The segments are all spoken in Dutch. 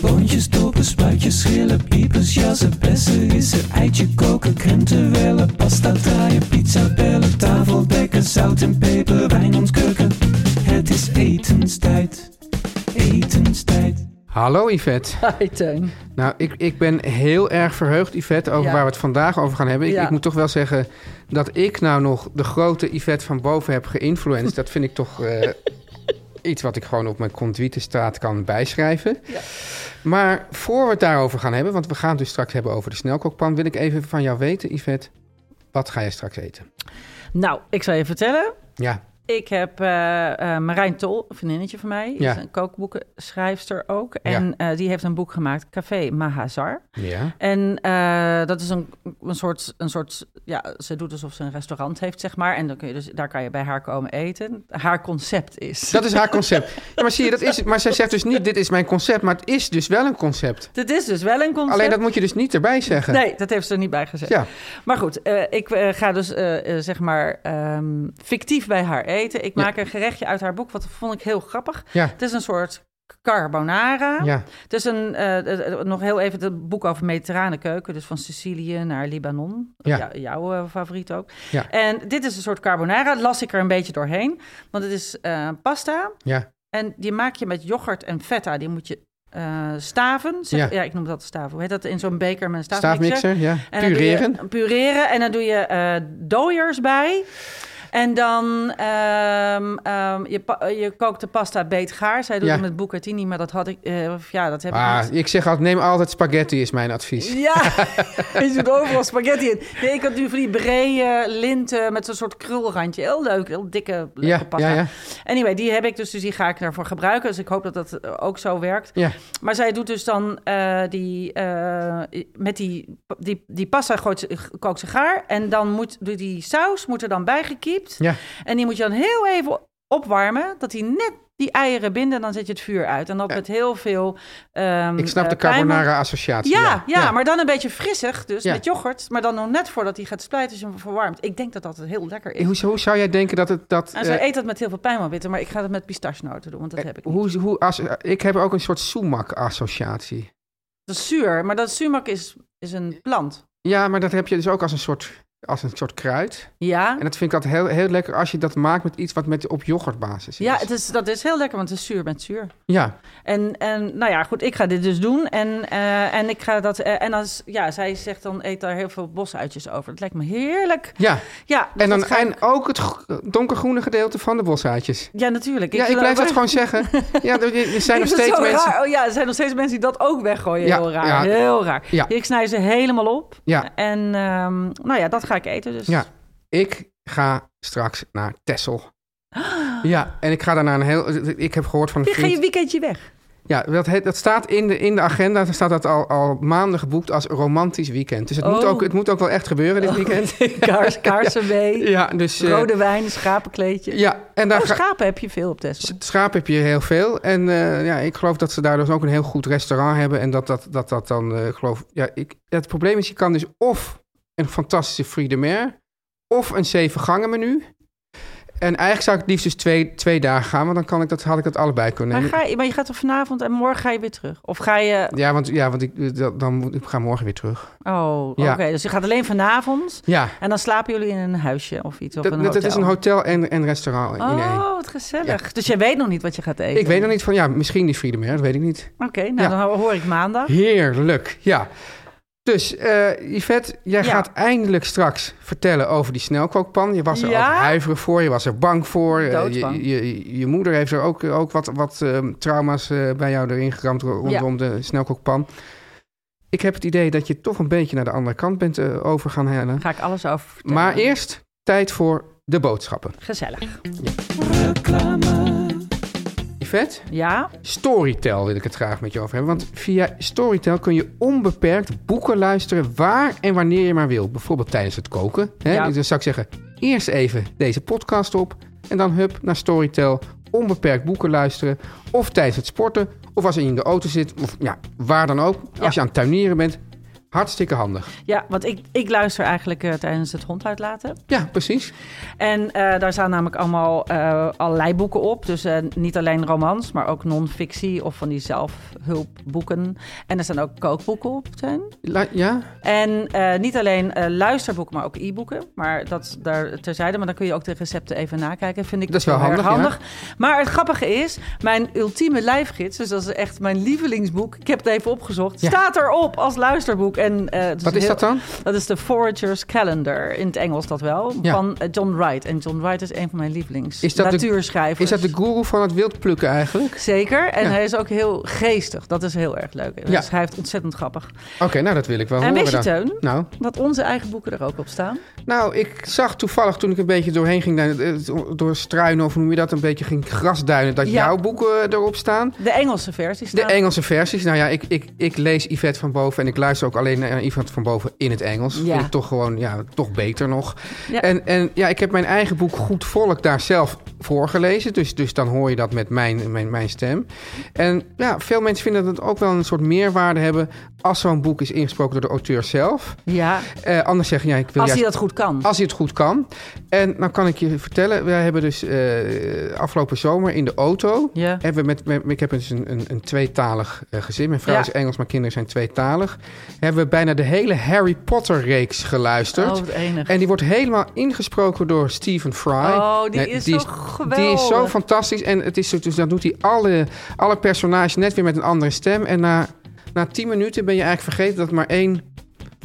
Boontjes, dopen, spuitjes, schillen, piepers, jassen, bessen, rissen, eitje koken, krenten wellen, pasta draaien, pizza bellen, tafel dekken, zout en peper, wijn ontkurken. Het is etenstijd, etenstijd. Hallo Yvette. Hi Teun. Nou, ik, ik ben heel erg verheugd, Yvette, over Ja. waar we het vandaag over gaan hebben. Ik, Ja. ik moet toch wel zeggen dat ik nou nog de grote Yvette van boven heb geïnfluenced. Dat vind ik toch eh, iets wat ik gewoon op mijn conduitenstraat kan bijschrijven. Maar voor we het daarover gaan hebben, want we gaan het dus straks hebben over de snelkookpan, wil ik even van jou weten, Yvette, wat ga jij straks eten? Nou, ik zal je vertellen. Ja, Ik heb eh, eh, Marijn Tol, een vriendinnetje van mij, Ja. is een kookboekenschrijfster ook. En eh, die heeft een boek gemaakt, Café Mahazar. ja, En eh, dat is een, een soort, een soort, ja, ze doet alsof ze een restaurant heeft, zeg maar. En dan kun je dus, daar kan je bij haar komen eten. Haar concept is. dat is haar concept. Ja, maar zie je, dat is, het. maar zij zegt dus niet, dit is mijn concept, maar het is dus wel een concept. Dit is dus wel een concept. Alleen dat moet je dus niet erbij zeggen. Nee, dat heeft ze er niet bij gezegd. Ja. Maar goed, eh, ik eh, ga dus eh, eh, zeg maar ehm, fictief bij haar eten. Ik Ja. maak een gerechtje uit haar boek, wat vond ik heel grappig. Ja. Het is een soort carbonara. Ja. Het is een, eh, eh, nog heel even het boek over mediterrane keuken. Dus van Sicilië naar Libanon. Ja. Jou- jouw eh, favoriet ook. Ja. En dit is een soort carbonara. Las ik er een beetje doorheen. Want het is eh, pasta. Ja, En die maak je met yoghurt en feta. Die moet je eh, staven. Zeg- Ja. ja. ik noem dat staven. Hoe heet dat? In zo'n beker met een staafmixer. staafmixer, ja. En dan doe je- Pureren. pureren. En dan doe je eh dooiers bij. En dan ehm, ehm, je, pa- je kookt de pasta beetgaar. Zij doet Ja. het met bucatini, maar dat had ik... eh, of ja, dat heb ik Ah, niet. ik zeg altijd, neem altijd spaghetti is mijn advies. Ja, je doet overal spaghetti in. Nee, ik had nu van die brede linten met zo'n soort krulrandje. Heel leuk, heel dikke lekkere Ja, pasta. ja, ja. Anyway, die heb ik dus, dus die ga ik daarvoor gebruiken. Dus ik hoop dat dat eh, ook zo werkt. Ja, Maar zij doet dus dan eh, die, eh, met die, die, die pasta gooit, ze- kookt ze gaar. En dan moet die- die saus moet er dan bijgekiept. ja. En die moet je dan heel even opwarmen, dat die net die eieren binden. En dan zet je het vuur uit. En dat met heel veel ehm, Ik snap eh, de pruimen. carbonara-associatie. Ja, ja, maar dan een beetje frissig, dus Ja. met yoghurt. Maar dan nog net voordat hij gaat splijten, is hem verwarmd. Ik denk dat dat heel lekker is. Eh, Hoe, hoe zou jij denken dat het... Dat, En zij eh, eet dat met heel veel pijnmanwitten, maar ik ga dat met pistachenoten doen, want Nou, dat heb ik niet. hoe, hoe, as- eh, ik heb ook een soort sumac-associatie. Dat is zuur, maar dat sumac is, is een Eh, plant. Ja, maar dat heb je dus ook als een soort, als een soort kruid. Ja, En dat vind ik altijd heel, heel lekker als je dat maakt met iets wat met, op yoghurtbasis is. ja het is, dat is heel lekker, want het is zuur met zuur. Ja, En, en nou ja, goed, ik ga dit dus doen. En, eh, en ik ga dat. eh, en als, ja, zij zegt dan eet daar heel veel bosuitjes over. Dat lijkt me heerlijk. ja. Ja, dus En, dan, dat ga ik- en ook het gro- donkergroene gedeelte van de boshaatjes. ja natuurlijk. Ja, ik wil blijf ook- dat gewoon zeggen. Ja, er, er zijn nog Ik vind het steeds zo mensen... raar. Oh ja, er zijn nog steeds mensen die dat ook weggooien. Ja, heel raar. ja. heel raar. Ja. Ik snij ze helemaal op. Ja. En ehm, nou ja, dat ga ik eten. Dus. Ja, ik ga straks naar Texel. Ja, en ik ga daarna een heel. Ik heb gehoord van een Je ga je vriend. weekendje weg. Ja, dat, heet- dat staat in de, in de agenda. Daar staat dat al, al maanden geboekt als romantisch weekend. Dus het, moet Oh. ook, het moet ook wel echt gebeuren dit weekend. Kaars, kaarsen mee. Ja, dus. eh, Rode wijn, schapenkleedje. Ja, en daar Oh, ga- schapen heb je veel op Tesla. Schaap heb je heel veel. En eh, ja, ik geloof dat ze daar dus ook een heel goed restaurant hebben. En dat dat, dat, dat dan, eh, ik geloof ja, ik, Het probleem is, je kan dus of een fantastische Free de Mer... of een zeven gangen menu. En eigenlijk zou ik het liefst dus twee, twee dagen gaan, want dan kan ik dat, had ik dat allebei kunnen Maar, nemen. ga je, maar je gaat toch vanavond en morgen ga je weer terug? Of ga je... Ja, want, ja, want ik, eh, dat- dan moet, ik ga morgen weer terug. Oh, oké. Ja. Dus je gaat alleen vanavond Ja, en dan slapen jullie in een huisje of iets? Of dat, een dat, dat is hotel. een hotel en, en restaurant in één. Oh, wat gezellig. Dus jij weet nog niet wat je gaat eten? Ik weet nog niet van, ja, misschien die Freedom Air, dat weet ik niet. Oké, nou Ja. dan hoor ik maandag. Heerlijk, ja. Dus eh Yvette, jij Ja. gaat eindelijk straks vertellen over die snelkookpan. Je was er Ja? ook huiverig voor, je was er bang voor. Eh, Doodsbang. Je, je, je moeder heeft er ook, ook wat, wat ehm, trauma's eh, bij jou erin geramd ro- Ja. rondom de snelkookpan. Ik heb het idee dat je toch een beetje naar de andere kant bent eh, over gaan hellen. Ga ik alles over vertellen. Maar eerst tijd voor de boodschappen. Gezellig. Yvette, Ja? Storytel wil ik het graag met je over hebben. Want via Storytel kun je onbeperkt boeken luisteren waar en wanneer je maar wil. Bijvoorbeeld tijdens het koken. Hè? Ja. Dus zou ik zeggen, eerst even deze podcast op. En dan hup naar Storytel. Onbeperkt boeken luisteren. Of tijdens het sporten. Of als je in de auto zit. Of ja, waar dan ook. Ja. Als je aan het tuinieren bent. Hartstikke handig. Ja, want ik, ik luister eigenlijk eh, tijdens het hond uitlaten. Ja, precies. En eh, daar staan namelijk allemaal eh, allerlei boeken op. Dus eh, niet alleen romans, maar ook non-fictie of van die zelfhulpboeken. En er staan ook kookboeken op, Teun. La- ja? En eh, niet alleen eh, luisterboeken, maar ook e-boeken. Maar dat daar terzijde. Maar dan kun je ook de recepten even nakijken. Vind ik dus Dat is wel heel erg handig, ja. Maar het grappige is, mijn ultieme lijfgids, dus dat is echt mijn lievelingsboek. Ik heb het even opgezocht. Ja. Staat erop als luisterboek. En, eh, het Wat is heel- dat dan? dat is de Forager's Calendar, in het Engels dat wel, Ja. van eh, John Wright. En John Wright is een van mijn lievelings Is dat de- natuurschrijvers. Is dat de guru van het wild plukken eigenlijk? Zeker, en Ja. hij is ook heel geestig. Dat is heel erg leuk. Dus Hij Ja. schrijft ontzettend grappig. Oké, nou dat wil ik wel en horen weet je, dan. Teun, Nou, dat onze eigen boeken er ook op staan? Nou, ik zag toevallig toen ik een beetje doorheen ging, eh, door struinen of hoe noem je dat, een beetje ging grasduinen, dat Ja. jouw boeken eh, erop staan. De Engelse versies De staan. Engelse versies. Nou ja, ik, ik, ik lees Yvette van Boven en ik luister ook alleen naar Yvette van Boven in het Engels. Ja. Vind ik toch gewoon, ja, toch beter nog. Ja. En, en ja, ik heb mijn eigen boek Goed Volk daar zelf voorgelezen. Dus, dus dan hoor je dat met mijn, mijn, mijn stem. En ja, veel mensen vinden dat het ook wel een soort meerwaarde hebben als zo'n boek is ingesproken door de auteur zelf. ja, Eh, anders zeggen, ja, ik wil als juist hij dat goed kan. als hij het goed kan. En nou kan ik je vertellen, wij hebben dus eh, afgelopen zomer in de auto. Ja. Hebben we met, met, ik heb dus een, een, een tweetalig eh, gezin. Mijn vrouw Ja. is Engels, mijn kinderen zijn tweetalig. Hebben we bijna de hele Harry Potter reeks Oh, geluisterd. het enige. En die wordt helemaal ingesproken door Stephen Fry. Oh, die is zo Die is zo geweldig. fantastisch. En het is, zo- dus dan doet hij alle, alle personages net weer met een andere stem. En na, na tien minuten ben je eigenlijk vergeten dat het maar één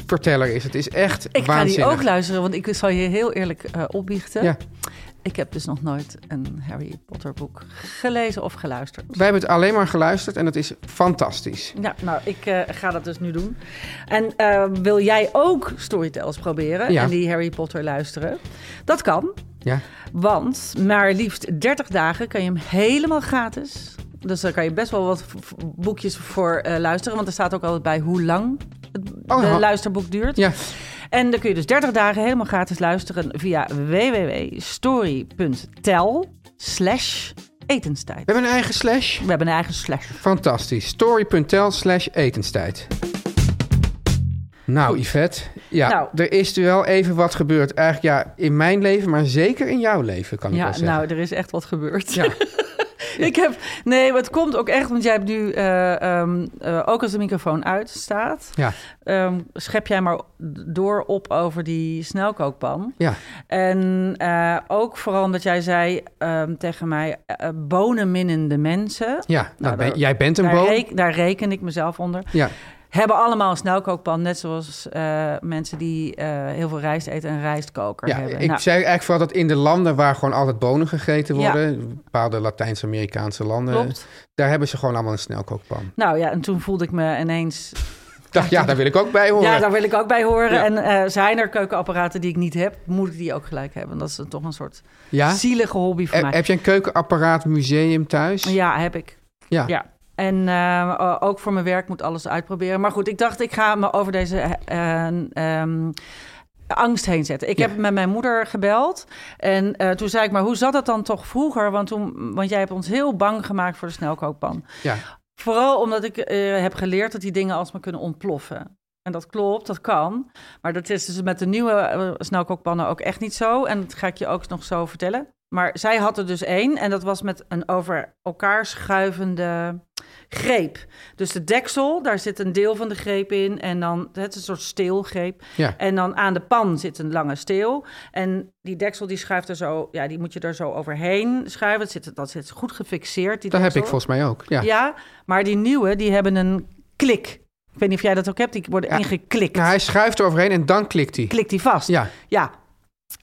verteller is. Het is echt Ik ga waanzinnig. die ook luisteren, want ik zal je heel eerlijk eh, opbiechten. Ja. Ik heb dus nog nooit een Harry Potter boek gelezen of geluisterd. Wij hebben het alleen maar geluisterd en dat is fantastisch. Ja, nou, ik eh, ga dat dus nu doen. En eh, wil jij ook storytels proberen Ja. en die Harry Potter luisteren? Dat kan, Ja, want maar liefst 30 dagen kan je hem helemaal gratis. Dus daar kan je best wel wat v- v- boekjes voor eh, luisteren. Want er staat ook altijd bij hoe lang het Oh, de ha- luisterboek duurt. ja. En dan kun je dus 30 dagen helemaal gratis luisteren via www.story.tel slash etenstijd. we hebben een eigen slash. We hebben een eigen slash. Fantastisch. Story.tel slash etenstijd. Nou, Yvette, ja, Nou. er is wel even wat gebeurd. Eigenlijk ja, in mijn leven, maar zeker in jouw leven, kan ik wel Ja, zeggen. nou, er is echt wat gebeurd. Ja. ik heb, nee, maar het komt ook echt, want jij hebt nu, eh, ehm, eh, ook als de microfoon uit staat, Ja, ehm, schep jij maar door op over die snelkookpan. ja, En eh, ook vooral omdat jij zei ehm, tegen mij, eh, bonenminnende mensen. ja. Nou, Nou, ben- daar- jij bent een Daar, boom. reken- daar reken ik mezelf onder. Ja, Hebben allemaal een snelkookpan, net zoals eh, mensen die eh, heel veel rijst eten en rijstkoker ja hebben. ik Nou, zei eigenlijk vooral dat in de landen waar gewoon altijd bonen gegeten Ja. worden, bepaalde Latijns-Amerikaanse landen, klopt. daar hebben ze gewoon allemaal een snelkookpan. Nou ja, en toen voelde ik me ineens Ik dacht, ja, daar wil ik ook bij horen. Ja, daar wil ik ook bij horen. Ja. En eh, zijn er keukenapparaten die ik niet heb, moet ik die ook gelijk hebben. Dat is dan toch een soort ja? zielige hobby voor Heb- mij. Heb je een keukenapparaat museum thuis? Ja, heb ik. Ja. ja. En eh, o- ook voor mijn werk moet alles uitproberen. Maar goed, ik dacht, ik ga me over deze eh, eh, ehm, angst heen zetten. Ik Ja. heb met mijn moeder gebeld. En eh, toen zei ik, maar hoe zat dat dan toch vroeger? Want, toen, want jij hebt ons heel bang gemaakt voor de snelkookpan. Ja. Vooral omdat ik eh, heb geleerd dat die dingen alsmaar kunnen ontploffen. En dat klopt, dat kan. Maar dat is dus met de nieuwe eh, snelkookpannen ook echt niet zo. En dat ga ik je ook nog zo vertellen. Maar zij had er dus één en dat was met een over elkaar schuivende greep. Dus de deksel, daar zit een deel van de greep in en dan, het is een soort steelgreep. Ja. En dan aan de pan zit een lange steel en die deksel die schuift er zo, ja, die moet je er zo overheen schuiven. Dat zit, dat zit goed gefixeerd. Die Dat heb ik deksel. volgens mij ook. Ja. Ja, maar die nieuwe, die hebben een klik. Ik weet niet of jij dat ook hebt, die worden Ja. ingeklikt. Nou, hij schuift er overheen en dan klikt hij. Klikt die vast. Ja, Ja,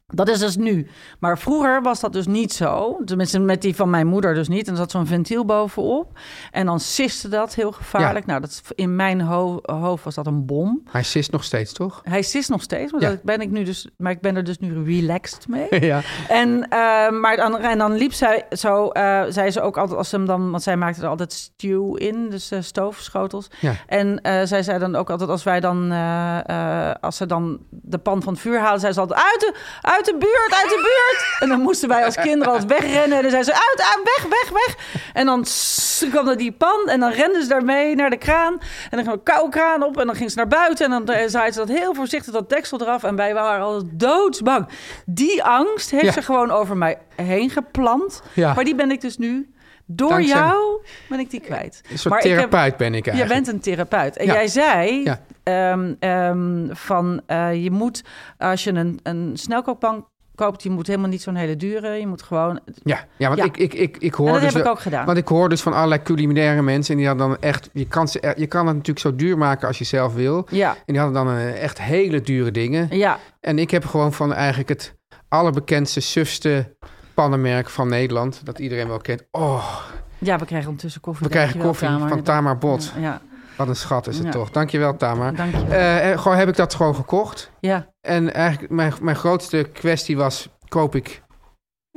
dat is dus nu. Maar vroeger was dat dus niet zo. Tenminste, met die van mijn moeder dus niet. En er zat zo'n ventiel bovenop. En dan siste dat heel gevaarlijk. Nou, dat, is- in mijn ho- hoofd was dat een bom. hij sist nog steeds, toch? Hij sist nog steeds, maar, Ja. dat ben ik, nu dus, maar ik ben er dus nu relaxed mee. ja. En, eh, maar dan, en dan liep zij zo, eh, zei ze ook altijd als ze hem dan, want zij maakte er altijd stew in, dus eh, stoofschotels. Ja. En eh, zij zei dan ook altijd als wij dan, eh, eh, als ze dan de pan van het vuur haalden, zei ze altijd uit de, uit de buurt, uit de buurt. en dan moesten wij als kinderen altijd wegrennen. En dan zei ze uit, uit, weg, weg, weg. En dan s- kwam er die pan en dan renden ze daarmee naar de kraan. En dan ging een koude kraan op en dan ging ze naar buiten. En dan eh, zei ze dat heel voorzichtig, dat deksel eraf. En wij waren al doodsbang. Die angst heeft Ja. ze gewoon over mij heen geplant. Ja. Maar die ben ik dus nu, door Dankzij- jou, ben ik die kwijt. Een soort maar ik heb- therapeut ben ik je eigenlijk. bent een therapeut. En Ja. jij zei Ja. ehm, ehm, van eh, je moet, als je een, een snelkookpan koopt, je moet helemaal niet zo'n hele dure. Je moet gewoon. Ja, ja want Ja. Ik, ik, ik, ik hoor en dat dus heb ik wel- ook gedaan. Want ik hoor dus van allerlei culinaire mensen. En die hadden dan echt. Je kan, ze, je kan het natuurlijk zo duur maken als je zelf wil. Ja. En die hadden dan eh, echt hele dure dingen. Ja, En ik heb gewoon van eigenlijk het allerbekendste, sufste pannenmerk van Nederland. Dat iedereen wel kent. Oh, ja, we krijgen ondertussen koffie. we krijgen Dankjewel, koffie Tamar. van Tamar Bot. Ja, Wat een schat is het Ja. toch. Dankjewel, Tamar. dank je. Eh, eh, gewoon heb ik dat gewoon gekocht. ja, En eigenlijk mijn, mijn grootste kwestie was, koop ik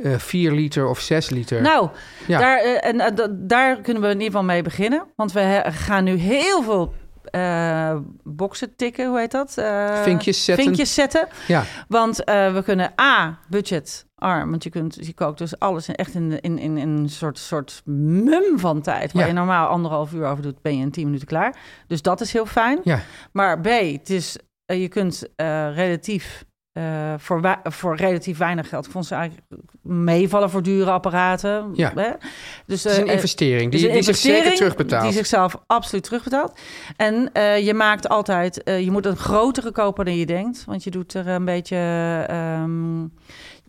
eh 4 liter of 6 liter? nou, eh, Ja. Daar, eh, en eh, da- daar kunnen we in ieder geval mee beginnen. Want we he- gaan nu heel veel eh boxen tikken, hoe heet dat? Eh, Vinkjes zetten. Vinkjes zetten. Ja. Want eh, we kunnen A, budget arm. Want je, kunt, je kookt dus alles in- echt in, in, in, in een soort, soort mum van tijd. Waar Ja. je normaal anderhalf uur over doet, ben je in tien minuten klaar. Dus dat is heel fijn. Ja. Maar B, het is, eh, je kunt eh, relatief... eh, voor, wa- voor relatief weinig geld. Ik vond ze eigenlijk meevallen voor dure apparaten. Ja. Hè? Dus, Het is een eh, eh, investering die, het is een die zich zeker investering terugbetaalt. Die zichzelf absoluut terugbetaalt. En eh, je maakt altijd, eh, je moet een grotere kopen dan je denkt. Want je doet er een beetje. ehm,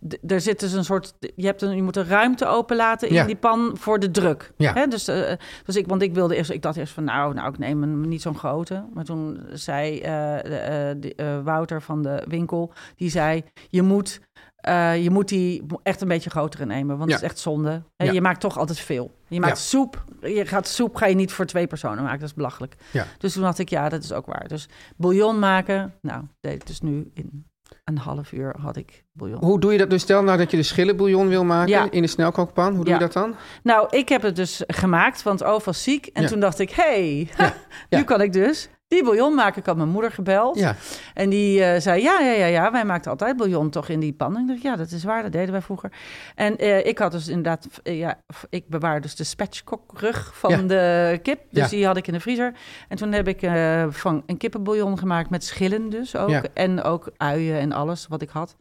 d- er zit dus een soort. Je, hebt een, je moet een ruimte openlaten in Ja. die pan voor de druk. Ja. Hè? Dus, eh, dus ik, want ik wilde eerst, ik dacht eerst van nou, nou ik neem een, niet zo'n grote. Maar toen zei eh, de, eh, die, eh, Wouter van de winkel, die zei: je moet, eh, je moet die echt een beetje grotere nemen. Want Ja. het is echt zonde. Hè, Ja. Je maakt toch altijd veel. Je maakt Ja. soep. Je gaat soep ga je niet voor twee personen maken. Dat is belachelijk. Ja. Dus toen dacht ik, ja, dat is ook waar. Dus bouillon maken. Nou, deed ik dus nu in een half uur had ik bouillon. Hoe doe je dat? Dus stel nou dat je de schillenbouillon wil maken Ja. in de snelkookpan. Hoe doe Ja. je dat dan? Nou, ik heb het dus gemaakt, want O was ziek. En Ja. toen dacht ik, hey, nu Ja. kan ik dus die bouillon maken. Ik had mijn moeder gebeld. Ja. En die eh, zei, ja, ja, ja, ja, wij maakten altijd bouillon toch in die pan. En ik dacht, ja, dat is waar, dat deden wij vroeger. En eh, ik had dus inderdaad, eh, ja, f- ik bewaar dus de spatchkokrug van Ja. de kip. Dus Ja. die had ik in de vriezer. En toen heb ik eh, van een kippenbouillon gemaakt met schillen dus ook. Ja. En ook uien en alles wat ik had.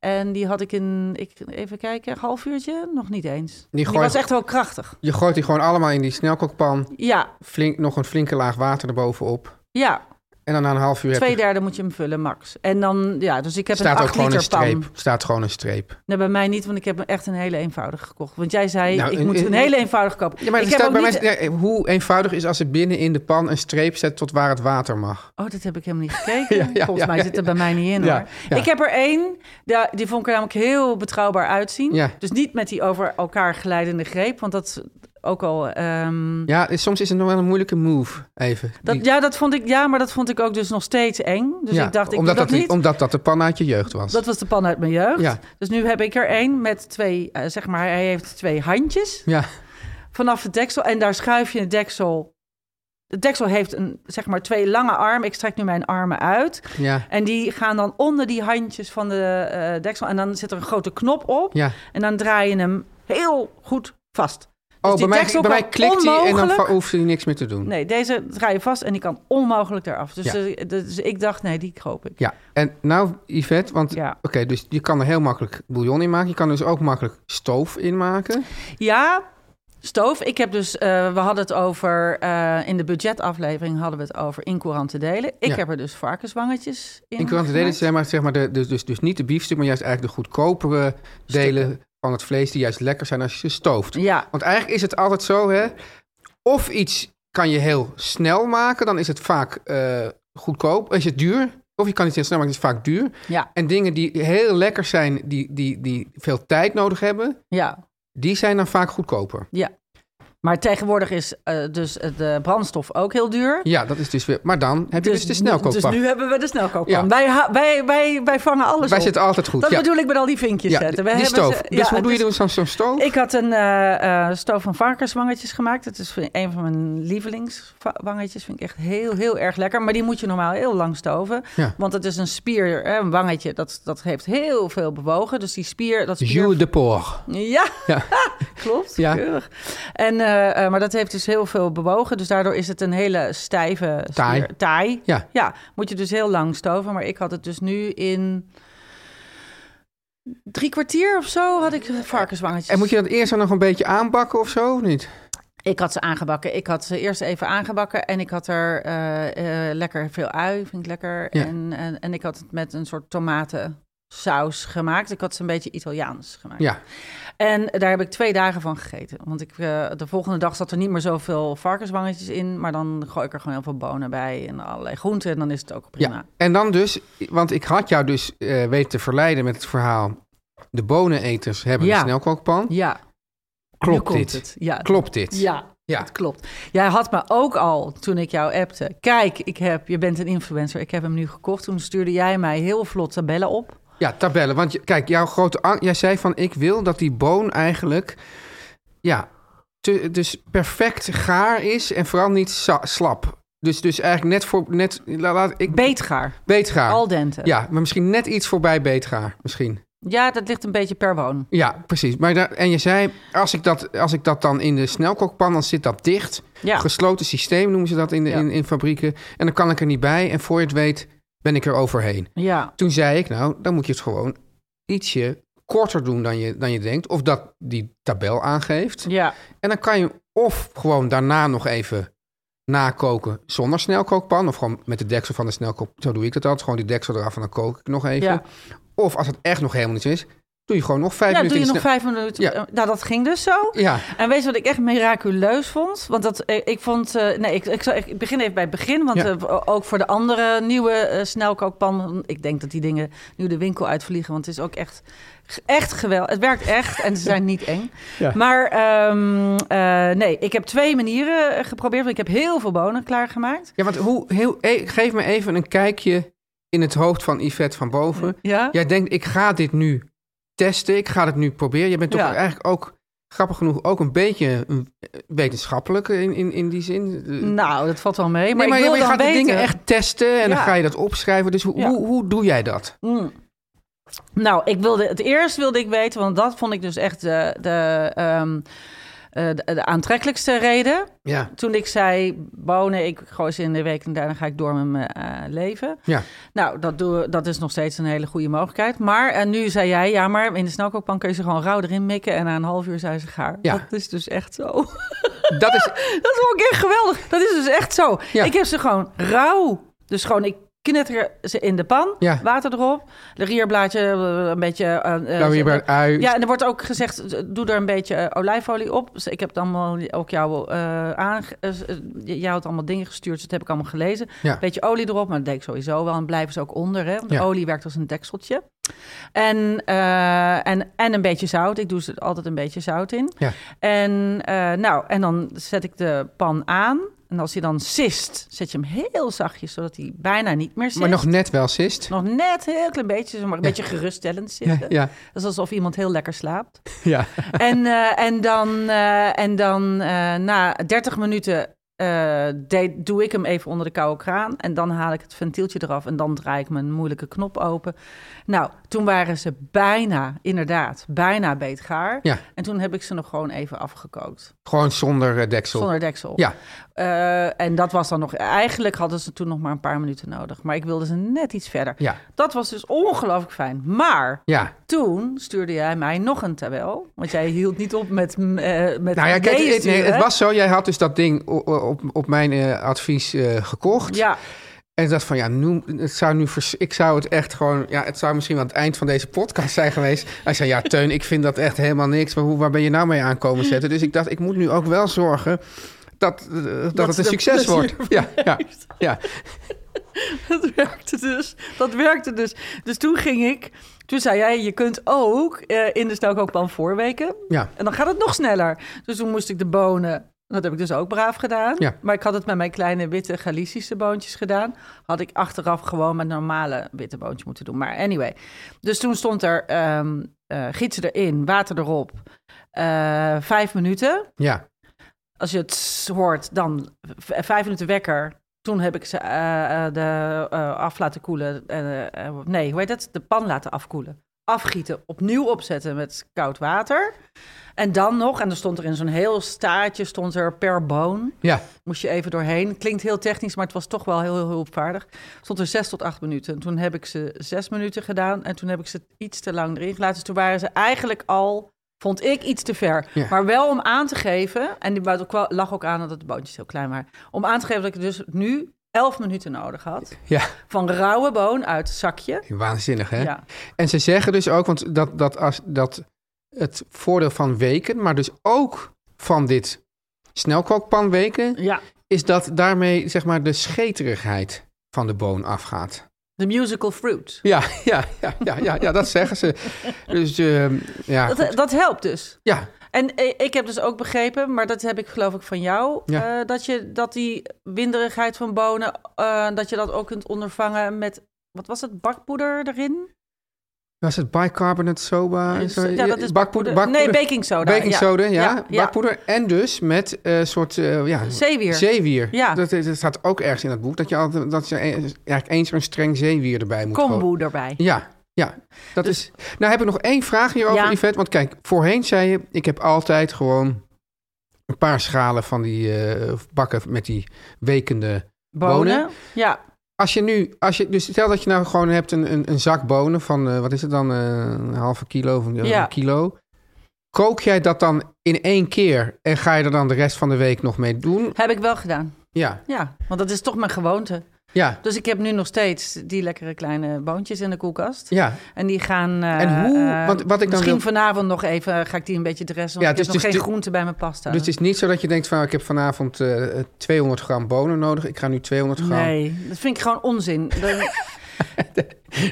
En die had ik in, ik, even kijken, een half uurtje? Nog niet eens. Die, gooi- was echt wel krachtig. Je gooit die gewoon allemaal in die snelkookpan. Ja, Flink, nog een flinke laag water erbovenop. ja. En dan na een half uur heb Twee je, derde moet je hem vullen, max. En dan, ja, dus ik heb staat een ook 8 gewoon liter een pan. streep. Staat gewoon een streep. Nee, bij mij niet, want ik heb echt een hele eenvoudige gekocht. Want jij zei, Nou, ik een- moet een een- hele eenvoudige kopen. Ja, maar ik er heb staat ook bij niet- mij, ja, hoe eenvoudig is als het binnen in de pan een streep zet tot waar het water mag. Oh, dat heb ik helemaal niet gekeken. Ja, ja, Volgens mij ja, zit er bij mij niet in, Ja, hoor. ja. Ik heb er één, da- die vond ik er namelijk heel betrouwbaar uitzien. Ja. Dus niet met die over elkaar glijdende greep, want dat is ook al... ehm, Ja, is- soms is het nog wel een moeilijke move. Even. Dat, Die- ja, dat vond ik, ja, maar dat vond ik ook dus nog steeds eng. Dus ja, ik dacht, ik omdat, doe dat, dat, niet. omdat dat de pan uit je jeugd was. Dat was de pan uit mijn jeugd. Ja. Dus nu heb ik er één met twee, eh, zeg maar, hij heeft twee handjes Ja, vanaf het deksel. En daar schuif je het deksel. Het deksel heeft een, zeg maar, twee lange armen. Ik strek nu mijn armen uit. ja, En die gaan dan onder die handjes van de eh, deksel. En dan zit er een grote knop op. ja. En dan draai je hem heel goed vast. Oh, bij die mij, deksel bij mij kan klikt hij en dan onmogelijk- va- hoeft hij niks meer te doen. Nee, deze draai je vast en die kan onmogelijk eraf. Dus, Hm. Ja. eh, dus ik dacht, nee, die koop ik. Ja, en nou Yvette, want Ja. oké, dus je kan er heel makkelijk bouillon in maken. Je kan dus ook makkelijk stoof in maken. Ja, stoof. Ik heb dus, eh, we hadden het over, eh, in de budgetaflevering hadden we het over incourante delen. Ik Ja. heb er dus varkenswangetjes in. In courante delen gemaakt. zijn maar, zeg maar de, dus, dus, dus niet de biefstuk, maar juist eigenlijk de goedkopere delen van het vlees die juist lekker zijn als je ze stooft. Ja, Want eigenlijk is het altijd zo, hè, of iets kan je heel snel maken, dan is het vaak eh, goedkoop. Is het duur? Of je kan iets heel snel maken, het is vaak duur. ja, En dingen die heel lekker zijn, die, die, die veel tijd nodig hebben, ja. die zijn dan vaak goedkoper. Maar tegenwoordig is eh, dus eh, de brandstof ook heel duur. Ja, dat is dus weer. Maar dan heb je dus, de nu- snelkooppak. Dus nu hebben we de snelkooppan. Ja. Wij, ha- wij, wij, wij vangen alles Wij op. zitten altijd goed. Dat ja. bedoel ik met al die vinkjes ja, zetten. We die hebben stoof. ze- dus hoe doe je dus- dan zo'n zo'n stoof? Ik had een eh, eh, stoof van varkenswangetjes gemaakt. Dat is een van mijn lievelingswangetjes. Vind ik echt heel, heel erg lekker. Maar die moet je normaal heel lang stoven. Ja. Want het is een spier, hè, een wangetje, dat, dat heeft heel veel bewogen. Dus die spier... Dat spier Jules de Poor. ja, Ja. klopt. Ja. Keurig. En, eh, eh, maar dat heeft dus heel veel bewogen. Dus daardoor is het een hele stijve spier. Taai. Taai. Ja. Ja, moet je dus heel lang stoven. Maar ik had het dus nu in drie kwartier of zo had ik varkenswangetjes. En moet je dat eerst dan nog een beetje aanbakken of zo? Of niet? Ik had ze aangebakken. Ik had ze eerst even aangebakken en ik had er eh, eh, lekker veel ui, vind ik lekker. Ja. En, en, en ik had het met een soort tomatensaus gemaakt. Ik had ze een beetje Italiaans gemaakt. Ja. En daar heb ik twee dagen van gegeten. Want ik, eh, de volgende dag zat er niet meer zoveel varkenswangetjes in. Maar dan gooi ik er gewoon heel veel bonen bij en allerlei groenten. En dan is het ook prima. ja. En dan dus, want ik had jou dus eh, weten te verleiden met het verhaal. De boneneters hebben Ja. een snelkookpan. ja nu Klopt komt dit? het. Ja, Klopt dit? Ja, Ja. dat klopt. Jij had me ook al, toen ik jou appte... Kijk, ik heb, je bent een influencer, ik heb hem nu gekocht. Toen stuurde jij mij heel vlot tabellen op. Ja, tabellen. Want je- kijk, jouw grote ang- Jij zei van ik wil dat die boon eigenlijk. Ja, te- dus perfect gaar is en vooral niet sa- slap. Dus, dus eigenlijk net voor. Net, la- laat, ik Beetgaar, beetgaar. al dente. Ja, maar misschien net iets voorbij beetgaar. Misschien. Ja, dat ligt een beetje per woon. Ja, precies. Maar daar, en je zei, als ik, dat, als ik dat dan in de snelkookpan, dan zit dat dicht. Ja, Gesloten systeem noemen ze dat in, de, Ja. in, in fabrieken. En dan kan ik er niet bij. En voor je het weet, ben ik er overheen. ja. Toen zei ik, nou, dan moet je het gewoon ietsje korter doen dan je, dan je denkt. Of dat die tabel aangeeft. ja. En dan kan je hem of gewoon daarna nog even nakoken zonder snelkookpan. Of gewoon met de deksel van de snelkook. Zo doe ik dat altijd. Gewoon die deksel eraf en dan kook ik nog even. Ja. Of als het echt nog helemaal niet zo is, doe je gewoon nog vijf Ja, doe minuten je in nog de vijf minuten. Ja. Eh, Nou, dat ging dus zo. snel- Ja, En weet je wat ik echt miraculeus vond? Want dat, eh, ik vond... eh, nee, ik, ik, zal- ik begin even bij het begin. Want Ja. eh, ook voor de andere nieuwe eh, snelkookpan... Ik denk dat die dingen nu de winkel uitvliegen. Want het is ook echt, echt geweldig. Het werkt echt en ze zijn niet eng. Ja. Maar ehm, eh, nee, ik heb twee manieren eh, geprobeerd. Want ik heb heel veel bonen klaargemaakt. ja want hoe, heel, eh, geef me even een kijkje in het hoofd van Yvette van Boven. Ja? Jij denkt, ik ga dit nu testen, ik ga het nu proberen. Je bent toch Ja. eigenlijk ook, grappig genoeg, ook een beetje eh, wetenschappelijk in, in, in die zin. Eh, Nou, dat valt wel mee. Maar, nee, maar ik je, wil je dan gaat weten. die dingen echt testen en dan Ja. ga je dat opschrijven. Dus hoe, Ja. hoe, hoe doe jij dat? Mm. Nou, ik wilde, het eerst wilde ik weten, want dat vond ik dus echt de, de, ehm, eh, de, de aantrekkelijkste reden. Ja, Toen ik zei, bonen, ik gooi ze in de week en daarna ga ik door met mijn eh, leven. ja. Nou, dat, doen we- dat is nog steeds een hele goede mogelijkheid. Maar en nu zei jij, ja, maar in de snelkookpan kun je ze gewoon rauw erin mikken. En na een half uur zijn ze gaar. Ja. Dat is dus echt zo. Dat is, Dat vond ik echt geweldig. Dat is dus echt zo. Ja. Ik heb ze gewoon rauw. Dus gewoon, ik knetter ze in de pan. Ja. Water erop. De rierblaadje, eh, een beetje... eh, eh, nou weer bij ze- het ui. ja, en er wordt ook gezegd, eh, doe er een beetje eh, olijfolie op. Dus ik heb dan allemaal ook jou eh aange... eh, eh, jij had allemaal dingen gestuurd, dus dat heb ik allemaal gelezen. Ja. Beetje olie erop, maar dat deed ik sowieso wel. En blijven ze ook onder, hè? Want Ja. olie werkt als een dekseltje. En, eh, en, en een beetje zout. Ik doe ze altijd een beetje zout in. Ja. En, eh, nou, en dan zet ik de pan aan. En als hij dan sist, zet je hem heel zachtjes, zodat hij bijna niet meer sist. Maar nog net wel sist. Nog net een heel klein beetje, maar een beetje geruststellend Ja, zitten. ja, Dat is alsof iemand heel lekker slaapt. ja. En, eh, en dan, eh, en dan eh, na 30 minuten eh, de- doe ik hem even onder de koude kraan. En dan haal ik het ventieltje eraf en dan draai ik mijn moeilijke knop open. Nou, toen waren ze bijna, inderdaad, bijna beetgaar. Ja. En toen heb ik ze nog gewoon even afgekookt. Gewoon zonder eh, deksel. Zonder deksel. Ja, Eh, en dat was dan nog... Eigenlijk hadden ze toen nog maar een paar minuten nodig. Maar ik wilde ze net iets verder. ja, Dat was dus ongelooflijk fijn. Maar ja. toen stuurde jij mij nog een tabel. Want jij hield niet op met... m, eh met Nou ja, kijk, ideeën het, nee, het sturen. was zo. Jij had dus dat ding o- o- op, op mijn eh, advies eh, gekocht. Ja, En ik dacht van, ja, nu, het zou nu vers- ik zou het echt gewoon... Ja, het zou misschien wel het eind van deze podcast zijn geweest. Hij zei, ja, Teun, ik vind dat echt helemaal niks. Maar hoe, waar ben je nou mee aankomen zetten? Dus ik dacht, ik moet nu ook wel zorgen dat, eh, dat, het een de succes plezier wordt. Ja, ja, ja. dat werkte dus. Dat werkte dus. Dus toen ging ik... Toen zei jij, je kunt ook eh, in de snelkookpan voorweken. Ja. En dan gaat het nog sneller. Dus toen moest ik de bonen... Dat heb ik dus ook braaf gedaan. Ja. Maar ik had het met mijn kleine witte Galicische boontjes gedaan. Had ik achteraf gewoon met normale witte boontjes moeten doen. Maar anyway. Dus toen stond er ehm eh, gietsen erin, water erop. eh, vijf minuten. ja. Als je het s- hoort, dan v- vijf minuten wekker. Toen heb ik ze eh, eh, de, eh, af laten koelen. eh, eh, nee, hoe heet het? De pan laten afkoelen. Afgieten, opnieuw opzetten met koud water. En dan nog, en er stond er in zo'n heel staartje, stond er per boon. Ja, Moest je even doorheen. Klinkt heel technisch, maar het was toch wel heel, heel hulpvaardig. Stond er zes tot acht minuten. En toen heb ik ze zes minuten gedaan. En toen heb ik ze iets te lang erin gelaten. Dus toen waren ze eigenlijk al, vond ik, iets te ver. Ja. Maar wel om aan te geven, en die buiten kwa- lag ook aan dat de bootjes heel klein waren. Om aan te geven dat ik dus nu elf minuten nodig had. ja. Van rauwe boon uit het zakje. Waanzinnig, hè? Ja. En ze zeggen dus ook, want dat, dat, als, dat het voordeel van weken, maar dus ook van dit snelkookpan weken, ja. is dat daarmee zeg maar de scheterigheid van de boon afgaat. De musical fruit. Ja, ja, ja, ja, ja, ja dat zeggen ze. Dus ehm, ja, Dat, dat helpt dus. ja, En eh, ik heb dus ook begrepen, maar dat heb ik geloof ik van jou, Ja. eh, dat, je, dat die winderigheid van bonen, eh, dat je dat ook kunt ondervangen met, wat was het, bakpoeder erin? was het bicarbonate soda? en zo? Dus, ja, dat is bakpoeder. Nee, baking soda. baking soda, ja, ja. bakpoeder. En dus met eh soort eh, ja, Zeewier. Zeewier. Ja. Dat, is- dat staat ook ergens in dat boek. Dat je, altijd, dat je e- eigenlijk eens een streng zeewier erbij moet gooien. Kombu erbij. Ja, ja. Dat Dus- is... Nou heb ik nog één vraag hierover, Ja. Yvette. Want kijk, voorheen zei je... ik heb altijd gewoon een paar schalen van die eh, bakken met die wekende... Bonen. bonen. Ja, Als je nu... Als je, dus stel dat je nou gewoon hebt een, een, een zak bonen van... eh, wat is het dan? eh, een halve kilo of een, Ja. een kilo. Kook jij dat dan in één keer... en ga je er dan de rest van de week nog mee doen? heb ik wel gedaan. Ja, Ja, want dat is toch mijn gewoonte. ja, Dus ik heb nu nog steeds die lekkere kleine boontjes in de koelkast. ja. En die gaan. eh, En hoe- eh, want wat ik dan misschien wil- vanavond nog even. eh, Ga ik die een beetje dressen. Want Ja, ik dus- heb nog dus geen de- groente bij mijn pasta. Dus het is niet zo dat je denkt van... ik heb vanavond eh, 200 gram bonen nodig. Ik ga nu 200 gram... Nee, dat vind ik gewoon onzin. Dat,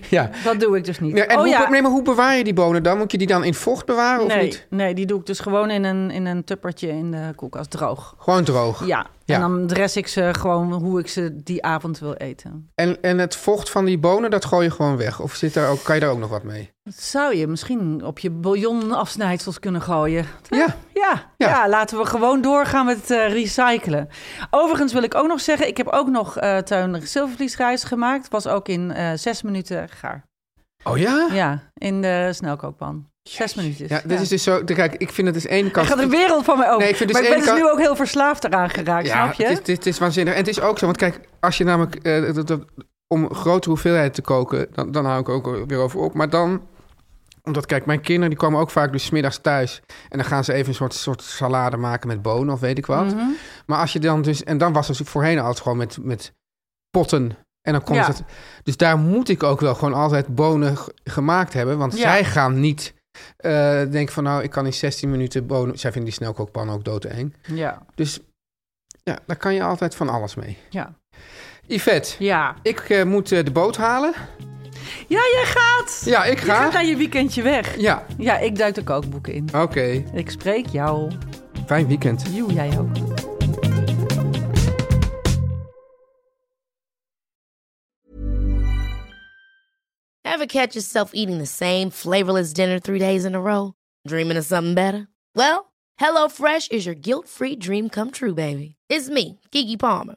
Ja. dat doe ik dus niet. Ja, en oh hoe, ja, Nee, maar hoe bewaar je die bonen dan? Moet je die dan in vocht bewaren of nee, niet? nee, die doe ik dus gewoon in een, in een tuppertje in de koelkast droog. Gewoon droog. Ja. Ja. en dan dress ik ze gewoon hoe ik ze die avond wil eten. En, en het vocht van die bonen, dat gooi je gewoon weg? Of zit daar ook, kan je daar ook nog wat mee? Dat zou je misschien op je bouillonafsnijdsels kunnen gooien. Ja. Ja, Ja. ja. laten we gewoon doorgaan met eh, recyclen. Overigens wil ik ook nog zeggen, ik heb ook nog eh tuin zilvervliesrijst gemaakt. Was ook in eh, zes minuten gaar. Oh ja? Ja, in de snelkookpan. Zes minuutjes. Ja, dit is dus zo... Kijk, ik vind het dus één kant... gaat de wereld van mij open. Nee, ik vind dus maar ik ben één dus kant- nu ook heel verslaafd eraan geraakt, ja, snap je? Het is, het, is, het is waanzinnig. En het is ook zo, want kijk, als je namelijk... eh, dat- dat- om grote hoeveelheden te koken, dan, dan hou ik ook weer over op. Maar dan omdat, kijk, mijn kinderen die komen ook vaak dus 's middags thuis. En dan gaan ze even een soort, soort salade maken met bonen of weet ik wat. Mhm. Maar als je dan dus... En dan was het voorheen altijd gewoon met, met potten. En dan kon Ja. het... Dus daar moet ik ook wel gewoon altijd bonen g- gemaakt hebben. Want Ja. zij gaan niet eh denken van... Nou, ik kan in 16 minuten bonen... Zij vinden die snelkookpan ook doodeng. Ja, Dus ja, daar kan je altijd van alles mee. ja. Yvette, Ja. ik eh, moet eh, de boot halen. Ja, jij gaat. Ja, ik Je gaat ga. naar je weekendje weg. Ja, Ja, ik duik de kookboeken in. oké. Ik spreek jou. Fijn weekend. You, jij ook. Ever catch yourself eating the same flavorless dinner three days in a row? Dreaming of something better? Well, HelloFresh is your guilt free dream come true, baby. It's me, Kiki Palmer.